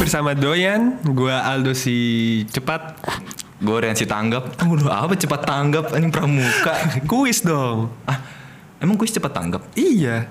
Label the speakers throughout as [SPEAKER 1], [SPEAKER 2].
[SPEAKER 1] bersama Doyan, gua Aldo si cepat.
[SPEAKER 2] Gue Rensi tanggap. Aduh apa cepat tanggap anjing pramuka.
[SPEAKER 1] Eh, Kuis dong.
[SPEAKER 2] Ah, emang kuis cepat tanggap
[SPEAKER 1] Iya.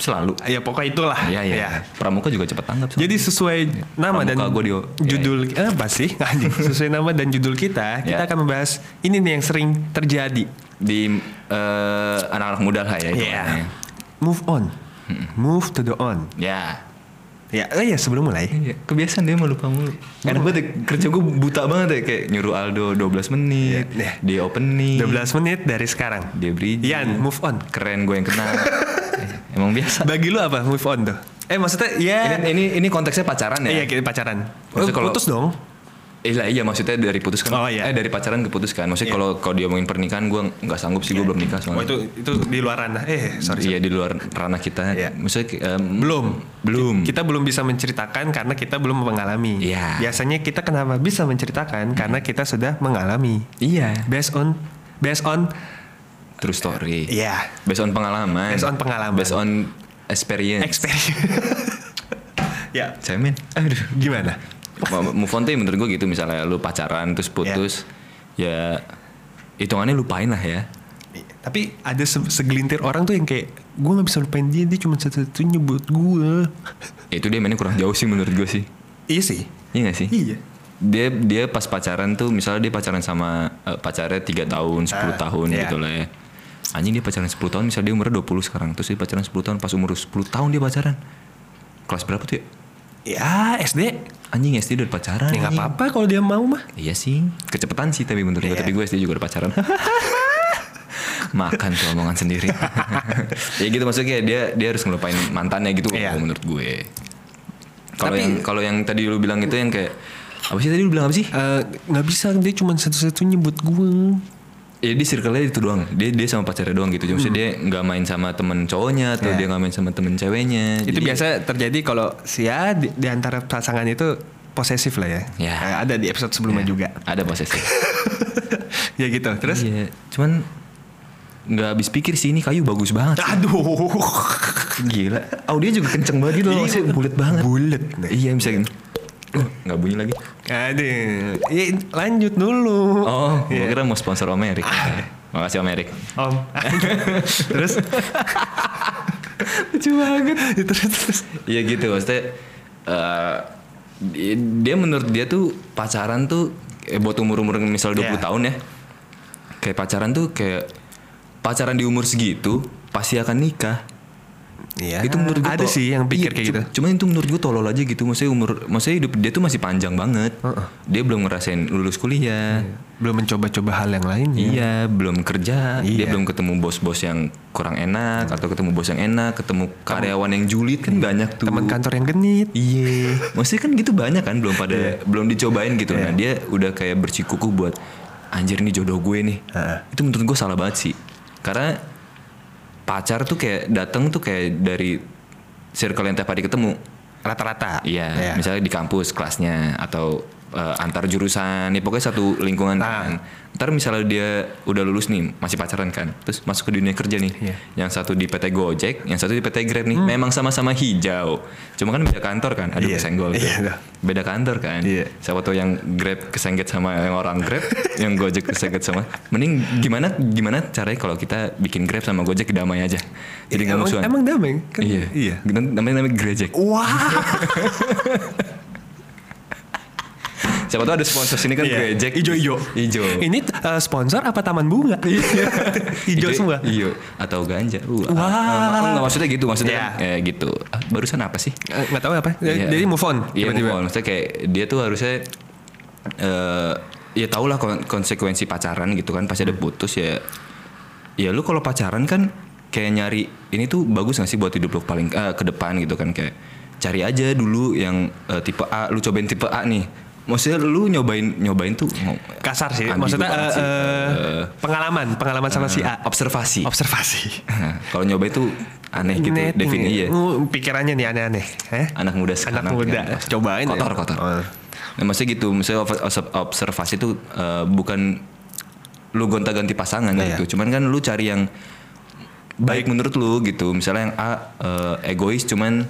[SPEAKER 2] selalu.
[SPEAKER 1] Ya pokoknya itulah. Ya.
[SPEAKER 2] Iya iya. Pramuka juga cepat tanggap. selalu.
[SPEAKER 1] Jadi sesuai nama dan
[SPEAKER 2] Pramuka gua di-
[SPEAKER 1] judul eh, apa sih? Anjing. sesuai nama dan judul kita, kita
[SPEAKER 2] Iya.
[SPEAKER 1] akan membahas ini nih yang sering terjadi.
[SPEAKER 2] di eh, anak-anak muda lah ya itu.
[SPEAKER 1] Iya.
[SPEAKER 2] namanya.
[SPEAKER 1] Move on. Move to the on.
[SPEAKER 2] Ya.
[SPEAKER 1] Ya, oh iya sebelum mulai.
[SPEAKER 2] Iya, kebiasaan dia malu lupa mulu. Karena gue kerja gue buta banget ya kayak nyuruh Aldo 12 menit,
[SPEAKER 1] Iya, iya.
[SPEAKER 2] dia opening,
[SPEAKER 1] 12 menit dari sekarang.
[SPEAKER 2] dia bridging.
[SPEAKER 1] Yan, move on.
[SPEAKER 2] Keren gue yang kena. Eh, Emang biasa.
[SPEAKER 1] Bagi lu apa move on tuh? Eh maksudnya ya
[SPEAKER 2] Ini, ini ini konteksnya pacaran
[SPEAKER 1] Iya
[SPEAKER 2] ya?
[SPEAKER 1] kita pacaran. Oh,
[SPEAKER 2] Maksudnya kalau-
[SPEAKER 1] putus dong.
[SPEAKER 2] Eh lah, iya maksudnya dari putus kan.
[SPEAKER 1] Oh, iya.
[SPEAKER 2] Eh dari pacaran ke putus kan. Maksudnya kalau kalau dia ngomongin pernikahan gue nggak sanggup sih gue belum nikah
[SPEAKER 1] Oh
[SPEAKER 2] soalnya.
[SPEAKER 1] itu itu di luar ranah. Eh sorry.
[SPEAKER 2] Iya di luar ranah kita.
[SPEAKER 1] Iya.
[SPEAKER 2] Maksudnya eh,
[SPEAKER 1] Belum.
[SPEAKER 2] belum.
[SPEAKER 1] Kita belum bisa menceritakan karena kita belum mengalami.
[SPEAKER 2] Iya.
[SPEAKER 1] Biasanya kita kenapa bisa menceritakan karena kita sudah mengalami.
[SPEAKER 2] iya.
[SPEAKER 1] Based on based on
[SPEAKER 2] True story.
[SPEAKER 1] ya
[SPEAKER 2] Based on pengalaman.
[SPEAKER 1] Based on pengalaman.
[SPEAKER 2] Based on experience.
[SPEAKER 1] experience. ya.
[SPEAKER 2] Cemen. Aduh.
[SPEAKER 1] Gimana?
[SPEAKER 2] Move on tuh menurut gue gitu misalnya lu
[SPEAKER 1] Iya.
[SPEAKER 2] pacaran terus putus ya hitungannya lupain lah ya.
[SPEAKER 1] Tapi ada se- segelintir orang tuh yang kayak gue nggak bisa lupain dia dia cuma satu-satunya buat gue.
[SPEAKER 2] Ya, Itu dia mainnya kurang jauh sih menurut gue sih.
[SPEAKER 1] iya sih.
[SPEAKER 2] Iya gak sih?
[SPEAKER 1] Iya.
[SPEAKER 2] dia dia pas pacaran tuh misalnya dia pacaran sama eh, pacarnya 3 tahun 10
[SPEAKER 1] Ah,
[SPEAKER 2] tahun
[SPEAKER 1] iya.
[SPEAKER 2] gitu lah ya anjing dia pacaran 10 tahun misalnya dia umurnya 20 sekarang terus dia pacaran 10 tahun pas umur 10 tahun dia pacaran kelas berapa tuh ya
[SPEAKER 1] Ya SD.
[SPEAKER 2] anjing SD udah pacaran
[SPEAKER 1] Ya nggak
[SPEAKER 2] anjing.
[SPEAKER 1] apa-apa kalau dia mau mah.
[SPEAKER 2] iya sih kecepatan sih tapi menurut gue
[SPEAKER 1] Iya.
[SPEAKER 2] tapi gue SD juga udah pacaran makan tuh omongan sendiri ya gitu maksudnya kayak dia dia harus ngelupain mantannya gitu
[SPEAKER 1] Iya.
[SPEAKER 2] menurut gue kalau
[SPEAKER 1] Tapi-
[SPEAKER 2] yang kalau yang tadi lu bilang itu yang kayak apa sih tadi lu bilang apa sih
[SPEAKER 1] Eh, nggak bisa dia cuma satu-satunya buat gue.
[SPEAKER 2] Ya di circle-nya itu doang. Dia dia sama pacarnya doang gitu. Cuma maksudnya dia nggak main sama temen cowoknya atau
[SPEAKER 1] Ya.
[SPEAKER 2] dia nggak main sama temen ceweknya.
[SPEAKER 1] Itu
[SPEAKER 2] Jadi-
[SPEAKER 1] biasa terjadi kalau si ya di, di antara pasangan itu posesif lah ya.
[SPEAKER 2] Ya.
[SPEAKER 1] Eh, Ada di episode sebelumnya
[SPEAKER 2] Ya,
[SPEAKER 1] juga.
[SPEAKER 2] Ada posesif.
[SPEAKER 1] ya gitu. Terus
[SPEAKER 2] Iya. Cuman nggak habis pikir sih ini kayu bagus banget.
[SPEAKER 1] aduh.
[SPEAKER 2] Gila. Nah. Audio juga kenceng banget gitu loh. Maksudnya bulat banget.
[SPEAKER 1] Bulet.
[SPEAKER 2] Iya bisa. Uh, Nggak bunyi lagi.
[SPEAKER 1] Aduh. Ya, lanjut dulu.
[SPEAKER 2] Oh, Ah,
[SPEAKER 1] Iya.
[SPEAKER 2] iya. gue kira mau sponsor Om Erik. Makasih Om Erik.
[SPEAKER 1] Om. terus Ya,
[SPEAKER 2] Lucu banget.
[SPEAKER 1] terus terus.
[SPEAKER 2] Iya gitu maksudnya eh, di- dia menurut dia tuh pacaran tuh eh, buat umur-umur misal 20
[SPEAKER 1] Iya.
[SPEAKER 2] tahun ya. Kayak pacaran tuh kayak pacaran di umur segitu pasti akan nikah.
[SPEAKER 1] Iya.
[SPEAKER 2] itu menurut iya, gue
[SPEAKER 1] ada sih yang pikir kayak gitu.
[SPEAKER 2] Cuman itu menurut gue tolol aja gitu. Maksudnya umur maksudnya hidup dia tuh masih panjang banget.
[SPEAKER 1] Heeh.
[SPEAKER 2] Dia belum ngerasain lulus kuliah.
[SPEAKER 1] Belum mencoba-coba hal yang lainnya.
[SPEAKER 2] Iya, belum kerja, dia
[SPEAKER 1] Iya.
[SPEAKER 2] belum ketemu bos-bos yang kurang enak atau ketemu bos yang enak, ketemu karyawan yang julid kan banyak tuh.
[SPEAKER 1] Teman kantor yang genit.
[SPEAKER 2] Iya, maksudnya kan gitu banyak kan belum pada belum dicobain gitu. Nah dia udah kayak bersikukuh buat anjir nih jodoh gue nih. Itu menurut gue salah banget sih. Karena pacar tuh kayak datang tuh kayak dari circle yang tiap hari ketemu.
[SPEAKER 1] Rata-rata. Ya.
[SPEAKER 2] Iya, misalnya di kampus kelasnya atau eh, antar jurusan, ya pokoknya satu lingkungan
[SPEAKER 1] Nah.
[SPEAKER 2] kan. Ntar misalnya dia udah lulus nih, masih pacaran kan, terus masuk ke dunia kerja nih.
[SPEAKER 1] Iya. Hmm.
[SPEAKER 2] Yang satu di PT Gojek, yang satu di PT Grab nih, memang sama-sama hijau. Cuma kan beda kantor kan, aduh
[SPEAKER 1] Iya.
[SPEAKER 2] kesenggol tuh.
[SPEAKER 1] Iya, dah.
[SPEAKER 2] Beda kantor kan.
[SPEAKER 1] Iya.
[SPEAKER 2] Siapa tuh yang Grab kesengget sama yang orang Grab, yang Gojek kesengget sama. Mending gimana gimana caranya kalau kita bikin Grab sama Gojek damai aja. Jadi nggak
[SPEAKER 1] Iya, emang,
[SPEAKER 2] musuhan.
[SPEAKER 1] emang damai kan?
[SPEAKER 2] Iya.
[SPEAKER 1] Iya.
[SPEAKER 2] Namanya namanya Grejek.
[SPEAKER 1] Wah.
[SPEAKER 2] Siapa tahu ada sponsor sini
[SPEAKER 1] Iya.
[SPEAKER 2] kan Gojek.
[SPEAKER 1] Ijo-ijo.
[SPEAKER 2] Ijo.
[SPEAKER 1] Ini eh, sponsor apa taman bunga? Ijo semua.
[SPEAKER 2] Iya, atau ganja. Uh,
[SPEAKER 1] Wah.
[SPEAKER 2] ah, ah, enggak, maksudnya gitu, maksudnya
[SPEAKER 1] Iya.
[SPEAKER 2] kan, eh, gitu. Ah, Barusan apa sih?
[SPEAKER 1] Eh, Nggak tahu apa.
[SPEAKER 2] Iya.
[SPEAKER 1] Eh, Jadi move on.
[SPEAKER 2] Iya,
[SPEAKER 1] tiba-tiba.
[SPEAKER 2] move on. Maksudnya kayak dia tuh harusnya eh ya tau lah kon- konsekuensi pacaran gitu
[SPEAKER 1] Hmm.
[SPEAKER 2] kan pasti ada putus ya. Ya lu kalau pacaran kan kayak nyari ini tuh bagus gak sih buat hidup lu paling eh, ke depan gitu kan kayak cari aja dulu yang eh, tipe A, lu cobain tipe A nih. Maksudnya lu nyobain nyobain tuh ngo-
[SPEAKER 1] Kasar sih.
[SPEAKER 2] ambigu
[SPEAKER 1] Maksudnya
[SPEAKER 2] banget
[SPEAKER 1] eh,
[SPEAKER 2] sih. Eh,
[SPEAKER 1] eh, pengalaman, pengalaman sama si A.
[SPEAKER 2] observasi.
[SPEAKER 1] Observasi.
[SPEAKER 2] Nah, kalau nyoba itu aneh iya. gitu
[SPEAKER 1] Net nih.
[SPEAKER 2] defini ya.
[SPEAKER 1] Uh, Pikirannya nih aneh-aneh. Eh?
[SPEAKER 2] Anak muda
[SPEAKER 1] Anak
[SPEAKER 2] sekarang.
[SPEAKER 1] muda.
[SPEAKER 2] kan.
[SPEAKER 1] Cobain ya.
[SPEAKER 2] Kotor, kotor.
[SPEAKER 1] Oh.
[SPEAKER 2] Nah, maksudnya gitu, misalnya ob- obs- observasi itu eh, bukan lu gonta-ganti pasangan
[SPEAKER 1] Iya.
[SPEAKER 2] gitu. Cuman kan lu cari yang baik menurut lu gitu. Misalnya yang A eh, egois cuman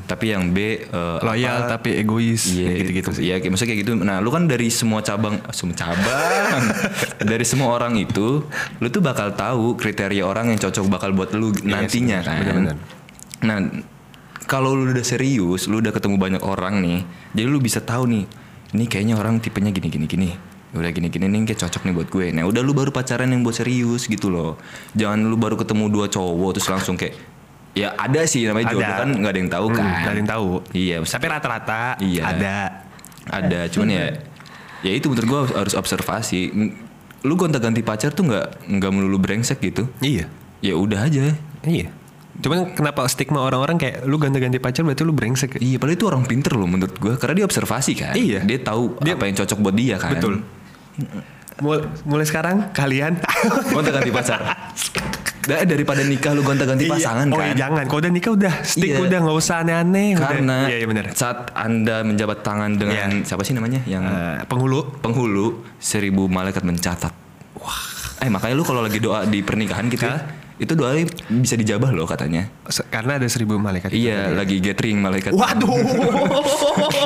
[SPEAKER 1] Hmm.
[SPEAKER 2] tapi yang B eh,
[SPEAKER 3] Loyal tapi egois
[SPEAKER 2] Iya
[SPEAKER 3] kayak
[SPEAKER 2] gitu-gitu. Iya, kayak- maksudnya kayak gitu. Nah, lu kan dari semua cabang, semua cabang, dari semua orang itu, lu tuh bakal tahu kriteria orang yang cocok bakal buat lu nantinya kan.
[SPEAKER 1] benar-benar.
[SPEAKER 2] Nah, kalau lu udah serius, lu udah ketemu banyak orang nih, jadi lu bisa tahu nih, ini kayaknya orang tipenya gini-gini gini. Udah gini-gini nih kayak cocok nih buat gue. Nah, udah lu baru pacaran yang buat serius gitu loh. Jangan lu baru ketemu dua cowok terus langsung kayak ya ada sih namanya
[SPEAKER 1] Ada.
[SPEAKER 2] jodoh kan nggak ada yang tahu kan.
[SPEAKER 1] Hmm, Gak ada yang tahu.
[SPEAKER 2] Iya,
[SPEAKER 1] Tapi rata-rata
[SPEAKER 2] Iya.
[SPEAKER 1] ada.
[SPEAKER 2] ada cuman ya ya itu menurut gua harus observasi N- lu gonta ganti pacar tuh nggak nggak melulu brengsek gitu
[SPEAKER 1] Iya.
[SPEAKER 2] ya udah aja
[SPEAKER 1] Iya. Cuman kenapa stigma orang-orang kayak lu ganti-ganti pacar berarti lu brengsek. ya?"
[SPEAKER 2] iya padahal itu orang pinter loh menurut gua karena dia observasi kan
[SPEAKER 1] Iya.
[SPEAKER 2] dia tahu apa yang cocok buat dia kan
[SPEAKER 1] Betul. Mul- Mulai sekarang kalian
[SPEAKER 2] gonta ganti pacar Da- daripada nikah lu gonta ganti
[SPEAKER 1] Iya.
[SPEAKER 2] pasangan
[SPEAKER 1] oh,
[SPEAKER 2] kan
[SPEAKER 1] iya, jangan. Kalau udah nikah udah stick
[SPEAKER 2] Iya.
[SPEAKER 1] udah nggak usah aneh-aneh. udah.
[SPEAKER 2] karena
[SPEAKER 1] Iya, iya benar.
[SPEAKER 2] saat anda menjabat tangan dengan
[SPEAKER 1] Iya.
[SPEAKER 2] siapa sih namanya yang
[SPEAKER 1] Eh, penghulu
[SPEAKER 2] penghulu seribu malaikat mencatat. Wah. Eh makanya lu kalau lagi doa di pernikahan gitu, ya, itu doanya bisa dijabah loh katanya.
[SPEAKER 1] Se- karena ada seribu malaikat.
[SPEAKER 2] Iya, lagi gathering malaikat.
[SPEAKER 1] Waduh.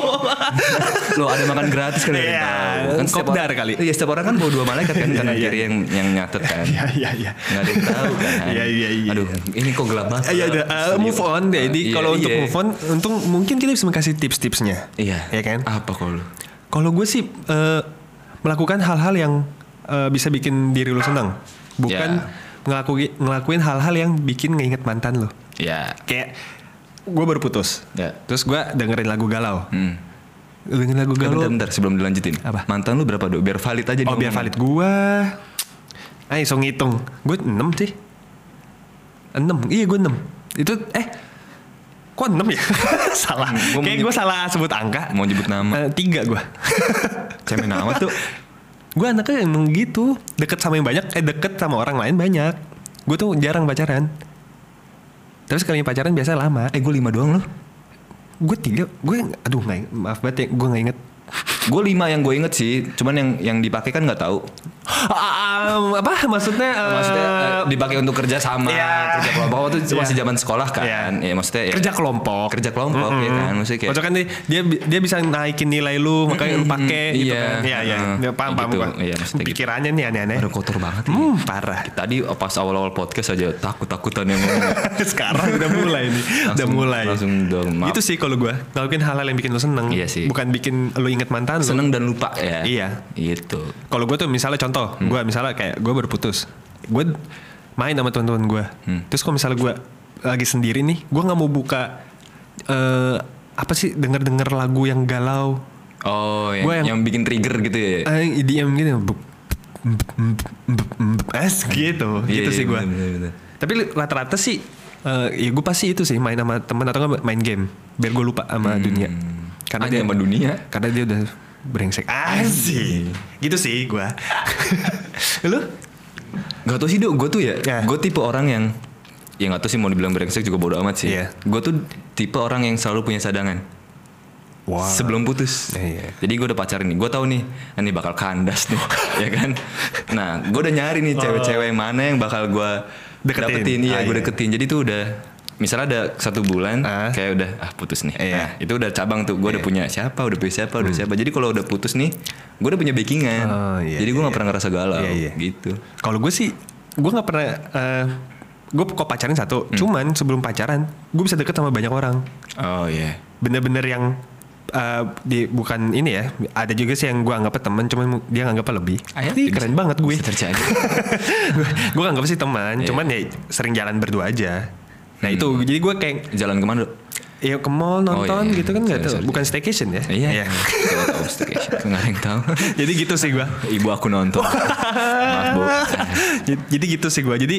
[SPEAKER 2] Lo ada makan gratis kan?
[SPEAKER 1] Iya,
[SPEAKER 2] dari tahu. setiap
[SPEAKER 1] kopdar
[SPEAKER 2] orang-
[SPEAKER 1] kali.
[SPEAKER 2] Iya, setiap orang kan bawa dua malaikat kan kanan
[SPEAKER 1] Iya,
[SPEAKER 2] kiri yang yang nyatet kan.
[SPEAKER 1] Iya iya iya.
[SPEAKER 2] Nggak ada yang tahu kan.
[SPEAKER 1] Iya, iya, iya.
[SPEAKER 2] Aduh, ini kok gelap banget.
[SPEAKER 1] Eh, Iya, ada, eh, move on. Jadi
[SPEAKER 2] Iya,
[SPEAKER 1] kalau untuk
[SPEAKER 2] iya.
[SPEAKER 1] move on, untung mungkin kita bisa kasih tips-tipsnya.
[SPEAKER 2] Iya.
[SPEAKER 1] Iya kan?
[SPEAKER 2] Apa kalau lu?
[SPEAKER 1] Kalau gue sih eh, melakukan hal-hal yang eh, bisa bikin diri lu senang, bukan
[SPEAKER 2] Ya.
[SPEAKER 1] ngelakuin ngelakuin hal-hal yang bikin ngeinget mantan lo.
[SPEAKER 2] Ya.
[SPEAKER 1] Kayak gue baru putus,
[SPEAKER 2] Ya.
[SPEAKER 1] terus gue dengerin lagu galau,
[SPEAKER 2] Hmm.
[SPEAKER 1] dengerin lagu
[SPEAKER 2] Eh,
[SPEAKER 1] galau.
[SPEAKER 2] bentar, bentar, sebelum dilanjutin.
[SPEAKER 1] Apa?
[SPEAKER 2] Mantan lu berapa, Do? Biar valid
[SPEAKER 1] Oh
[SPEAKER 2] aja nih
[SPEAKER 1] biar
[SPEAKER 2] ngomongnya.
[SPEAKER 1] valid gue. Ayo so ngitung. Gue 6 sih. 6. Iya gue 6. Itu eh kok 6 ya? salah.
[SPEAKER 2] Hmm, gua
[SPEAKER 1] Kayak
[SPEAKER 2] mau
[SPEAKER 1] gue salah sebut angka.
[SPEAKER 2] Mau nyebut
[SPEAKER 1] Eh,
[SPEAKER 2] nama.
[SPEAKER 1] tiga gue.
[SPEAKER 2] Cemen amat tuh.
[SPEAKER 1] gue anaknya emang gitu. Deket sama yang banyak. Eh deket sama orang lain banyak. Gue tuh jarang pacaran. Tapi sekali pacaran biasa lama.
[SPEAKER 2] Eh, gue lima doang loh.
[SPEAKER 1] Gue tiga. Gue aduh nggak ing- maaf banget ya. Gue nggak inget.
[SPEAKER 2] Gue lima yang gue inget sih, cuman yang yang dipakai kan nggak tahu.
[SPEAKER 1] Ah, ah, apa maksudnya? eh,
[SPEAKER 2] Maksudnya eh, dipakai untuk kerja sama,
[SPEAKER 1] Iya.
[SPEAKER 2] kerja kelompok waktu itu
[SPEAKER 1] Iya.
[SPEAKER 2] masih zaman sekolah kan.
[SPEAKER 1] Iya.
[SPEAKER 2] Ya maksudnya ya,
[SPEAKER 1] kerja kelompok.
[SPEAKER 2] kerja kelompok ya kan, maksudnya kayak
[SPEAKER 1] Maksudnya kan dia- dia dia bisa naikin nilai lu makanya lu pakai gitu
[SPEAKER 2] Iya.
[SPEAKER 1] kan. Iya iya.
[SPEAKER 2] Heeh.
[SPEAKER 1] Dia paham
[SPEAKER 2] Kayak
[SPEAKER 1] paham
[SPEAKER 2] gitu.
[SPEAKER 1] gua.
[SPEAKER 2] Iya, maksudnya gitu.
[SPEAKER 1] Pikirannya nih aneh-aneh.
[SPEAKER 2] Aduh, kotor banget. ya.
[SPEAKER 1] Hmm, parah.
[SPEAKER 2] Tadi pas awal-awal podcast aja takut-takutan yang ngomong.
[SPEAKER 1] Sekarang udah mulai nih. udah
[SPEAKER 2] Langsung-
[SPEAKER 1] mulai.
[SPEAKER 2] langsung dong, maaf.
[SPEAKER 1] Itu sih kalau gua, ngelakuin hal-hal yang bikin lu seneng.
[SPEAKER 2] Iya sih.
[SPEAKER 1] Bukan bikin lu inget mantan lu.
[SPEAKER 2] Seneng dan lupa ya.
[SPEAKER 1] Iya.
[SPEAKER 2] Gitu.
[SPEAKER 1] Kalau gua tuh misalnya contoh,
[SPEAKER 2] Hmm.
[SPEAKER 1] gua misalnya kayak gua baru putus. Gua main sama teman-teman gua.
[SPEAKER 2] Hmm.
[SPEAKER 1] Terus kalau misalnya gua lagi sendiri nih, gua nggak mau buka eh apa sih denger-denger lagu yang galau
[SPEAKER 2] Oh, yang,
[SPEAKER 1] Gua yang-
[SPEAKER 2] yang bikin trigger gitu ya.
[SPEAKER 1] Eh, EDM gitu. Bup, bup, bup, bup, bup. Es gitu.
[SPEAKER 2] Iya,
[SPEAKER 1] gitu
[SPEAKER 2] iya,
[SPEAKER 1] sih gue.
[SPEAKER 2] bener, bener, bener.
[SPEAKER 1] Tapi li- rata-rata sih eh, ya gue pasti itu sih main sama teman atau nggak main game biar gue lupa sama dunia. Karena
[SPEAKER 2] Hanya
[SPEAKER 1] dia
[SPEAKER 2] Hmm. sama dunia.
[SPEAKER 1] karena dia udah brengsek. Asik. Gitu sih gue. Lu?
[SPEAKER 2] Gak tau sih dok, gue tuh ya,
[SPEAKER 1] Ya.
[SPEAKER 2] gue tipe orang yang Ya gak tau sih mau dibilang brengsek juga bodo amat sih
[SPEAKER 1] Iya.
[SPEAKER 2] Gue tuh tipe orang yang selalu punya cadangan Sebelum putus
[SPEAKER 1] Iya.
[SPEAKER 2] Jadi gue udah pacaran nih, gue tahu nih nah, Ini bakal kandas nih, ya kan Nah gue udah nyari nih cewek-cewek mana yang bakal gue
[SPEAKER 1] Oh. Deketin.
[SPEAKER 2] Dapetin,
[SPEAKER 1] Ah,
[SPEAKER 2] iya gue
[SPEAKER 1] iya.
[SPEAKER 2] deketin Jadi tuh udah Misalnya ada satu bulan,
[SPEAKER 1] Ah.
[SPEAKER 2] kayak udah ah putus nih.
[SPEAKER 1] Iya. Hmm.
[SPEAKER 2] Nah, itu udah cabang tuh, gue udah punya siapa, udah punya siapa, udah siapa. Jadi kalau udah putus nih, gue udah punya backingan.
[SPEAKER 1] Oh, iya,
[SPEAKER 2] Jadi gue
[SPEAKER 1] iya,
[SPEAKER 2] nggak pernah ngerasa galau,
[SPEAKER 1] Iya, iya.
[SPEAKER 2] gitu.
[SPEAKER 1] Kalau gue sih gue nggak pernah gue kok pacaran satu.
[SPEAKER 2] Hmm.
[SPEAKER 1] Cuman sebelum pacaran gue bisa deket sama banyak orang.
[SPEAKER 2] Oh iya.
[SPEAKER 1] bener-bener yang eh, di bukan ini ya ada juga sih yang gue anggap teman cuman mu- dia nganggapnya lebih
[SPEAKER 2] Ayo,
[SPEAKER 1] Ih,
[SPEAKER 2] bisa-
[SPEAKER 1] keren banget gue
[SPEAKER 2] bisa terjadi.
[SPEAKER 1] gue anggap sih teman
[SPEAKER 2] Iya.
[SPEAKER 1] cuman ya sering jalan berdua aja nah itu jadi gue kayak
[SPEAKER 2] Jalan kemana? Dok?
[SPEAKER 1] ya ke mall
[SPEAKER 2] Oh,
[SPEAKER 1] nonton
[SPEAKER 2] iya, iya.
[SPEAKER 1] gitu kan nggak
[SPEAKER 2] Sorry,
[SPEAKER 1] tahu
[SPEAKER 2] sorry.
[SPEAKER 1] bukan staycation ya
[SPEAKER 2] Iya. Coba tahu staycation. Nggak ada yang tahu.
[SPEAKER 1] jadi gitu sih gue
[SPEAKER 2] Ibu aku nonton. Maaf bu.
[SPEAKER 1] Jadi- jadi gitu sih gue jadi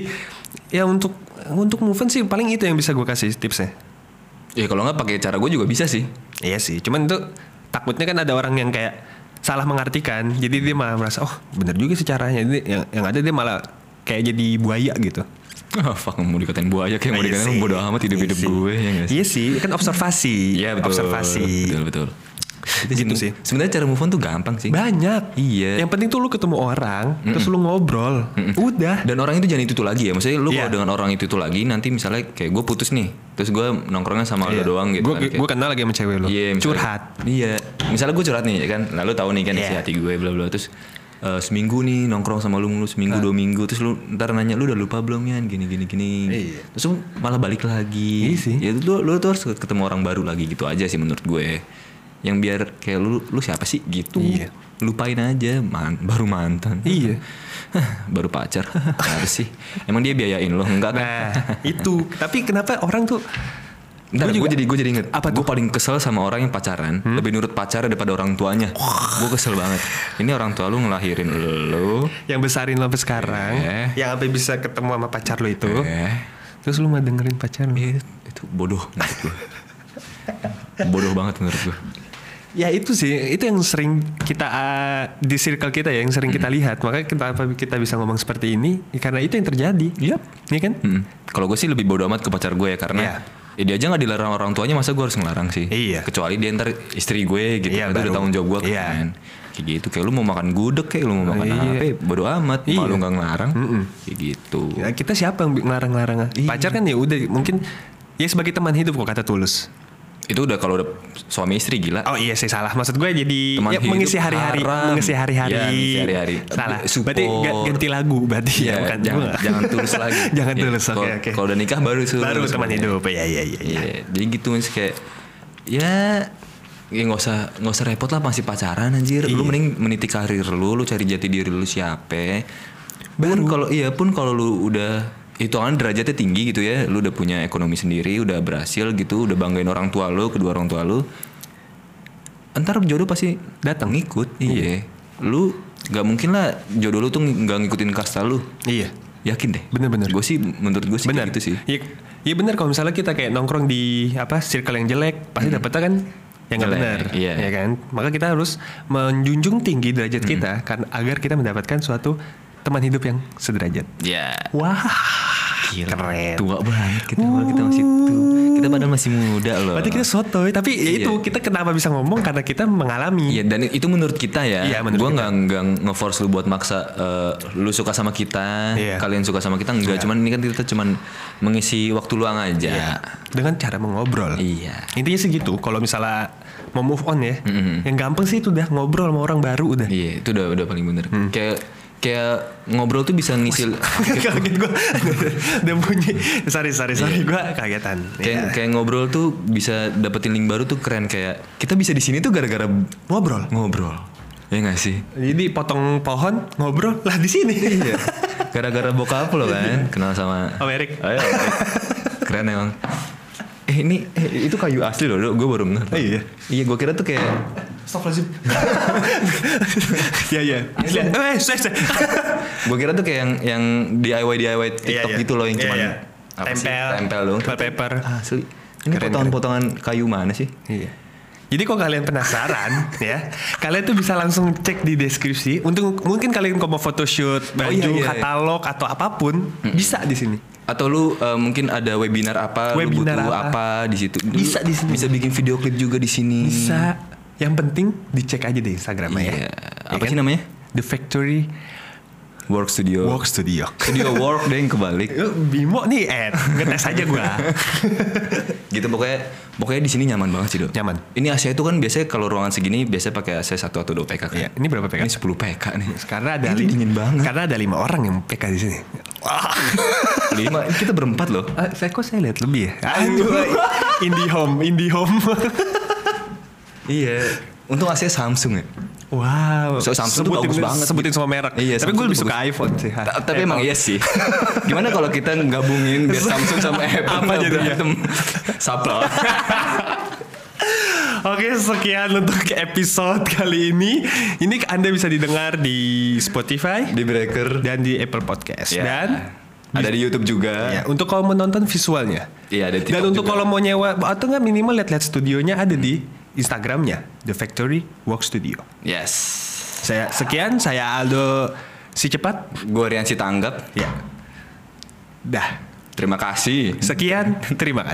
[SPEAKER 1] ya untuk untuk move on sih paling itu yang bisa gue kasih tipsnya
[SPEAKER 2] Ya kalau nggak pakai cara gue juga bisa sih.
[SPEAKER 1] Iya sih, cuman itu takutnya kan ada orang yang kayak salah mengartikan, jadi dia malah merasa oh bener juga sih caranya, Jadi yang, yang ada dia malah kayak jadi buaya gitu.
[SPEAKER 2] Ah fuck mau dikatain buaya kayak
[SPEAKER 1] Iya
[SPEAKER 2] mau
[SPEAKER 1] sih.
[SPEAKER 2] dikatain bodo amat hidup hidup
[SPEAKER 1] Iya sih.
[SPEAKER 2] gue ya nggak sih?
[SPEAKER 1] Iya sih, kan observasi.
[SPEAKER 2] Iya betul.
[SPEAKER 1] Observasi.
[SPEAKER 2] Betul betul. Itu
[SPEAKER 1] Gitu
[SPEAKER 2] seben-
[SPEAKER 1] sih.
[SPEAKER 2] Sebenarnya cara move on tuh gampang sih.
[SPEAKER 1] Banyak.
[SPEAKER 2] Iya.
[SPEAKER 1] Yang penting tuh lu ketemu orang, terus lu ngobrol. Udah.
[SPEAKER 2] Dan orang itu jangan itu tuh lagi ya. Maksudnya lu
[SPEAKER 1] Iya.
[SPEAKER 2] kalau dengan orang itu tuh lagi nanti misalnya kayak gue putus nih, terus gue nongkrongnya sama
[SPEAKER 1] Iya.
[SPEAKER 2] lo doang gitu.
[SPEAKER 1] Gua
[SPEAKER 2] kan, kayak-
[SPEAKER 1] gua kenal lagi sama cewek lu.
[SPEAKER 2] Iya, misalnya-
[SPEAKER 1] Curhat.
[SPEAKER 2] Iya. Misalnya gue curhat nih ya kan, lalu tahu nih kan
[SPEAKER 1] Iya.
[SPEAKER 2] isi hati gue bla bla terus eh, seminggu nih nongkrong sama lu mulu seminggu dua minggu terus lu ntar nanya lu udah lupa belum ya gini gini gini
[SPEAKER 1] Iya.
[SPEAKER 2] terus lu malah balik lagi
[SPEAKER 1] Iya sih.
[SPEAKER 2] ya lu lu tuh harus ketemu orang baru lagi gitu aja sih menurut gue yang biar kayak lu lu siapa sih gitu
[SPEAKER 1] Iya.
[SPEAKER 2] lupain aja man baru mantan
[SPEAKER 1] Iya.
[SPEAKER 2] Hah, baru pacar apa sih emang dia biayain lo enggak kan?
[SPEAKER 1] Nah, itu. Tapi kenapa orang tuh Gua
[SPEAKER 2] Ntar gue
[SPEAKER 1] juga-
[SPEAKER 2] jadi gue jadi inget
[SPEAKER 1] Apa
[SPEAKER 2] Gue paling kesel sama orang yang pacaran
[SPEAKER 1] Hmm?
[SPEAKER 2] Lebih nurut pacar daripada orang tuanya Gue kesel banget Ini orang tua lu ngelahirin lu
[SPEAKER 1] yang besarin lo sampai sekarang,
[SPEAKER 2] Eh.
[SPEAKER 1] yang sampai bisa ketemu sama pacar lo itu,
[SPEAKER 2] Eh,
[SPEAKER 1] terus lu mau dengerin pacar lo?
[SPEAKER 2] Itu itu bodoh menurut gue Bodoh banget menurut gue
[SPEAKER 1] Ya itu sih, itu yang sering kita ah, di circle kita ya, yang sering kita lihat. Makanya kenapa kita bisa ngomong seperti ini? Ya, karena itu yang terjadi. Iya, Iya kan?
[SPEAKER 2] Hmm. Kalau gue sih lebih bodoh amat ke pacar gue ya Karena
[SPEAKER 1] Iya.
[SPEAKER 2] ya dia aja gak dilarang orang tuanya Masa gue harus ngelarang sih
[SPEAKER 1] Iya.
[SPEAKER 2] Kecuali dia ntar istri gue gitu
[SPEAKER 1] Iya,
[SPEAKER 2] Itu udah
[SPEAKER 1] baru.
[SPEAKER 2] tanggung jawab gue
[SPEAKER 1] Iya.
[SPEAKER 2] kan Kayak gitu Kayak lu mau makan gudeg Kayak lu mau makan
[SPEAKER 1] Iya.
[SPEAKER 2] apa ya Bodoh amat
[SPEAKER 1] Iya.
[SPEAKER 2] Malu gak ngelarang
[SPEAKER 1] Mm-mm.
[SPEAKER 2] Kayak gitu
[SPEAKER 1] Ya, kita siapa yang ngelarang-larang?
[SPEAKER 2] Iya.
[SPEAKER 1] Pacar kan ya udah mungkin ya sebagai teman hidup kok kata tulus.
[SPEAKER 2] itu udah kalau udah suami istri gila
[SPEAKER 1] Oh iya saya salah. Maksud gue jadi
[SPEAKER 2] Teman
[SPEAKER 1] ya,
[SPEAKER 2] hidup
[SPEAKER 1] mengisi hari-hari,
[SPEAKER 2] haram.
[SPEAKER 1] mengisi hari-hari.
[SPEAKER 2] Ya, mengisi hari-hari.
[SPEAKER 1] Salah.
[SPEAKER 2] Support.
[SPEAKER 1] Berarti ga- ganti lagu berarti ya,
[SPEAKER 2] Iya,
[SPEAKER 1] bukan
[SPEAKER 2] jangan,
[SPEAKER 1] gua.
[SPEAKER 2] jangan tulus lagi
[SPEAKER 1] jangan
[SPEAKER 2] Iya,
[SPEAKER 1] tulus. Oke
[SPEAKER 2] kalau-
[SPEAKER 1] oke.
[SPEAKER 2] kalau udah nikah baru tulus ya.
[SPEAKER 1] Baru teman
[SPEAKER 2] semuanya.
[SPEAKER 1] hidup. Iya iya iya.
[SPEAKER 2] Iya, jadi gitu Mas, kayak ya ya nggak usah nggak usah repot lah masih pacaran anjir lu mending meniti karir lu lu cari jati diri lu siapa pun kalau iya pun kalau lu udah itu kan derajatnya tinggi gitu ya lu udah punya ekonomi sendiri udah berhasil gitu udah banggain orang tua lu kedua orang tua lu entar jodoh pasti datang ngikut iya lu nggak mungkin lah jodoh lu tuh nggak ngikutin kasta lu
[SPEAKER 1] Iya.
[SPEAKER 2] yakin deh
[SPEAKER 1] Bener-bener.
[SPEAKER 2] gue sih menurut gue sih
[SPEAKER 1] Benar.
[SPEAKER 2] kayak gitu sih
[SPEAKER 1] Iya iya benar kalau misalnya kita kayak nongkrong di apa circle yang jelek pasti dapetnya kan yang nggak
[SPEAKER 2] Jelek,
[SPEAKER 1] benar.
[SPEAKER 2] Hmm. iya. Hmm.
[SPEAKER 1] Ya kan? Maka kita harus menjunjung tinggi derajat kita karena agar kita mendapatkan suatu teman hidup yang sederajat.
[SPEAKER 2] ya
[SPEAKER 1] Wah.
[SPEAKER 2] Gila,
[SPEAKER 1] Keren.
[SPEAKER 2] Tua banget kita padahal kita masih tua. Kita padahal masih muda loh.
[SPEAKER 1] Berarti kita sotoy, tapi ya
[SPEAKER 2] Iya.
[SPEAKER 1] itu kita kenapa bisa ngomong karena kita mengalami.
[SPEAKER 2] Iya dan itu menurut kita ya.
[SPEAKER 1] Iya, menurut
[SPEAKER 2] gua nggak nggak ngeforce lu buat maksa eh, lu suka sama kita,
[SPEAKER 1] Iya. Iya.
[SPEAKER 2] kalian suka sama kita enggak. Cuman ini kan kita cuman mengisi waktu luang aja.
[SPEAKER 1] Dengan cara mengobrol.
[SPEAKER 2] Iya.
[SPEAKER 1] Intinya sih gitu. Kalau misalnya mau move on ya,
[SPEAKER 2] Hmm.
[SPEAKER 1] yang gampang sih itu udah ngobrol sama orang baru udah.
[SPEAKER 2] Iya, itu udah udah paling bener.
[SPEAKER 1] Hmm.
[SPEAKER 2] Kayak kayak ngobrol tuh bisa ngisi
[SPEAKER 1] kaget gue udah bunyi sorry sorry sorry gue kagetan Iya.
[SPEAKER 2] kayak kayak ngobrol tuh bisa dapetin link baru tuh keren kayak kita bisa di sini tuh gara-gara
[SPEAKER 1] ngobrol
[SPEAKER 2] ngobrol. Ya nggak sih?
[SPEAKER 1] jadi potong pohon ngobrol lah di sini
[SPEAKER 2] Gara-gara bokap lo kan kenal sama
[SPEAKER 1] Om Erik.
[SPEAKER 2] Ayo, Om Erik. Keren emang. Eh ini eh, itu kayu asli loh, gue baru ngeh.
[SPEAKER 1] Oh, iya.
[SPEAKER 2] Iya, gue kira tuh kayak
[SPEAKER 1] stop lazim ya ya eh saya saya
[SPEAKER 2] gue kira tuh kayak yang yang DIY DIY TikTok
[SPEAKER 1] Iya, iya.
[SPEAKER 2] gitu loh yang
[SPEAKER 1] Iya,
[SPEAKER 2] cuman
[SPEAKER 1] iya.
[SPEAKER 2] apa sih?
[SPEAKER 1] Tempel.
[SPEAKER 2] tempel dong.
[SPEAKER 1] Toilet paper.
[SPEAKER 2] Asli. Ini
[SPEAKER 1] Keren,
[SPEAKER 2] potongan-potongan kayu mana sih?
[SPEAKER 1] Iya. Jadi kalau kalian penasaran ya, kalian tuh bisa langsung cek di deskripsi. Untuk mungkin kalian kalau mau photoshoot, baju,
[SPEAKER 2] iya, iya, iya.
[SPEAKER 1] katalog atau apapun bisa di sini.
[SPEAKER 2] Atau lu eh, mungkin ada webinar apa,
[SPEAKER 1] Webinar
[SPEAKER 2] lu butuh
[SPEAKER 1] apa.
[SPEAKER 2] apa, di situ. Lu
[SPEAKER 1] Bisa di sini.
[SPEAKER 2] Bisa bikin video klip juga di sini.
[SPEAKER 1] Bisa. Yang penting dicek aja di Instagram
[SPEAKER 2] Iya.
[SPEAKER 1] ya.
[SPEAKER 2] Apa sih namanya?
[SPEAKER 1] The Factory
[SPEAKER 2] Work Studio.
[SPEAKER 1] Work Studio.
[SPEAKER 2] Studio Work deh yang kebalik.
[SPEAKER 1] Eh, Bimo nih, eh, ngetes aja gua.
[SPEAKER 2] gitu pokoknya pokoknya di sini nyaman banget sih dok
[SPEAKER 1] Nyaman.
[SPEAKER 2] ini AC itu kan biasanya kalau ruangan segini biasanya pakai AC 1 atau 2 PK kan
[SPEAKER 1] Iya, ini berapa PK?
[SPEAKER 2] ini 10 PK nih
[SPEAKER 1] Karena ada
[SPEAKER 2] Ini
[SPEAKER 1] li-
[SPEAKER 2] dingin banget
[SPEAKER 1] Karena ada lima orang yang PK di sini.
[SPEAKER 2] lima kita berempat loh
[SPEAKER 1] Eh, saya kok saya lihat lebih ya. indie home, indie home.
[SPEAKER 2] iya untung AC Samsung ya
[SPEAKER 1] Wow.
[SPEAKER 2] So, Samsung tuh bagus banget.
[SPEAKER 1] Sebutin semua merek.
[SPEAKER 2] Iya,
[SPEAKER 1] Tapi
[SPEAKER 2] Samsung
[SPEAKER 1] gue lebih
[SPEAKER 2] tuh
[SPEAKER 1] suka iPhone sih.
[SPEAKER 2] Ta- tapi emang iya sih gimana kalau kita gabungin biar Samsung sama Apple
[SPEAKER 1] Apa
[SPEAKER 2] nggak
[SPEAKER 1] jadinya?
[SPEAKER 2] berantem Sapla
[SPEAKER 1] Oke, sekian untuk episode kali ini. Ini Anda bisa didengar di Spotify
[SPEAKER 2] di breaker
[SPEAKER 1] dan di Apple Podcast.
[SPEAKER 2] Ya.
[SPEAKER 1] Dan
[SPEAKER 2] ada di YouTube
[SPEAKER 1] ya,
[SPEAKER 2] juga
[SPEAKER 1] untuk kalau menonton visualnya.
[SPEAKER 2] Eh. Iya, ada di
[SPEAKER 1] Dan
[SPEAKER 2] TikTok
[SPEAKER 1] untuk kalau
[SPEAKER 2] juga.
[SPEAKER 1] mau nyewa atau nggak minimal lihat-lihat studionya ada di Instagramnya The Factory Work Studio.
[SPEAKER 2] yes
[SPEAKER 1] Saya sekian, saya Aldo si cepat.
[SPEAKER 2] gue Rian Sitanggap
[SPEAKER 1] Ya. Dah.
[SPEAKER 2] terima kasih
[SPEAKER 1] Sekian, terima kasih.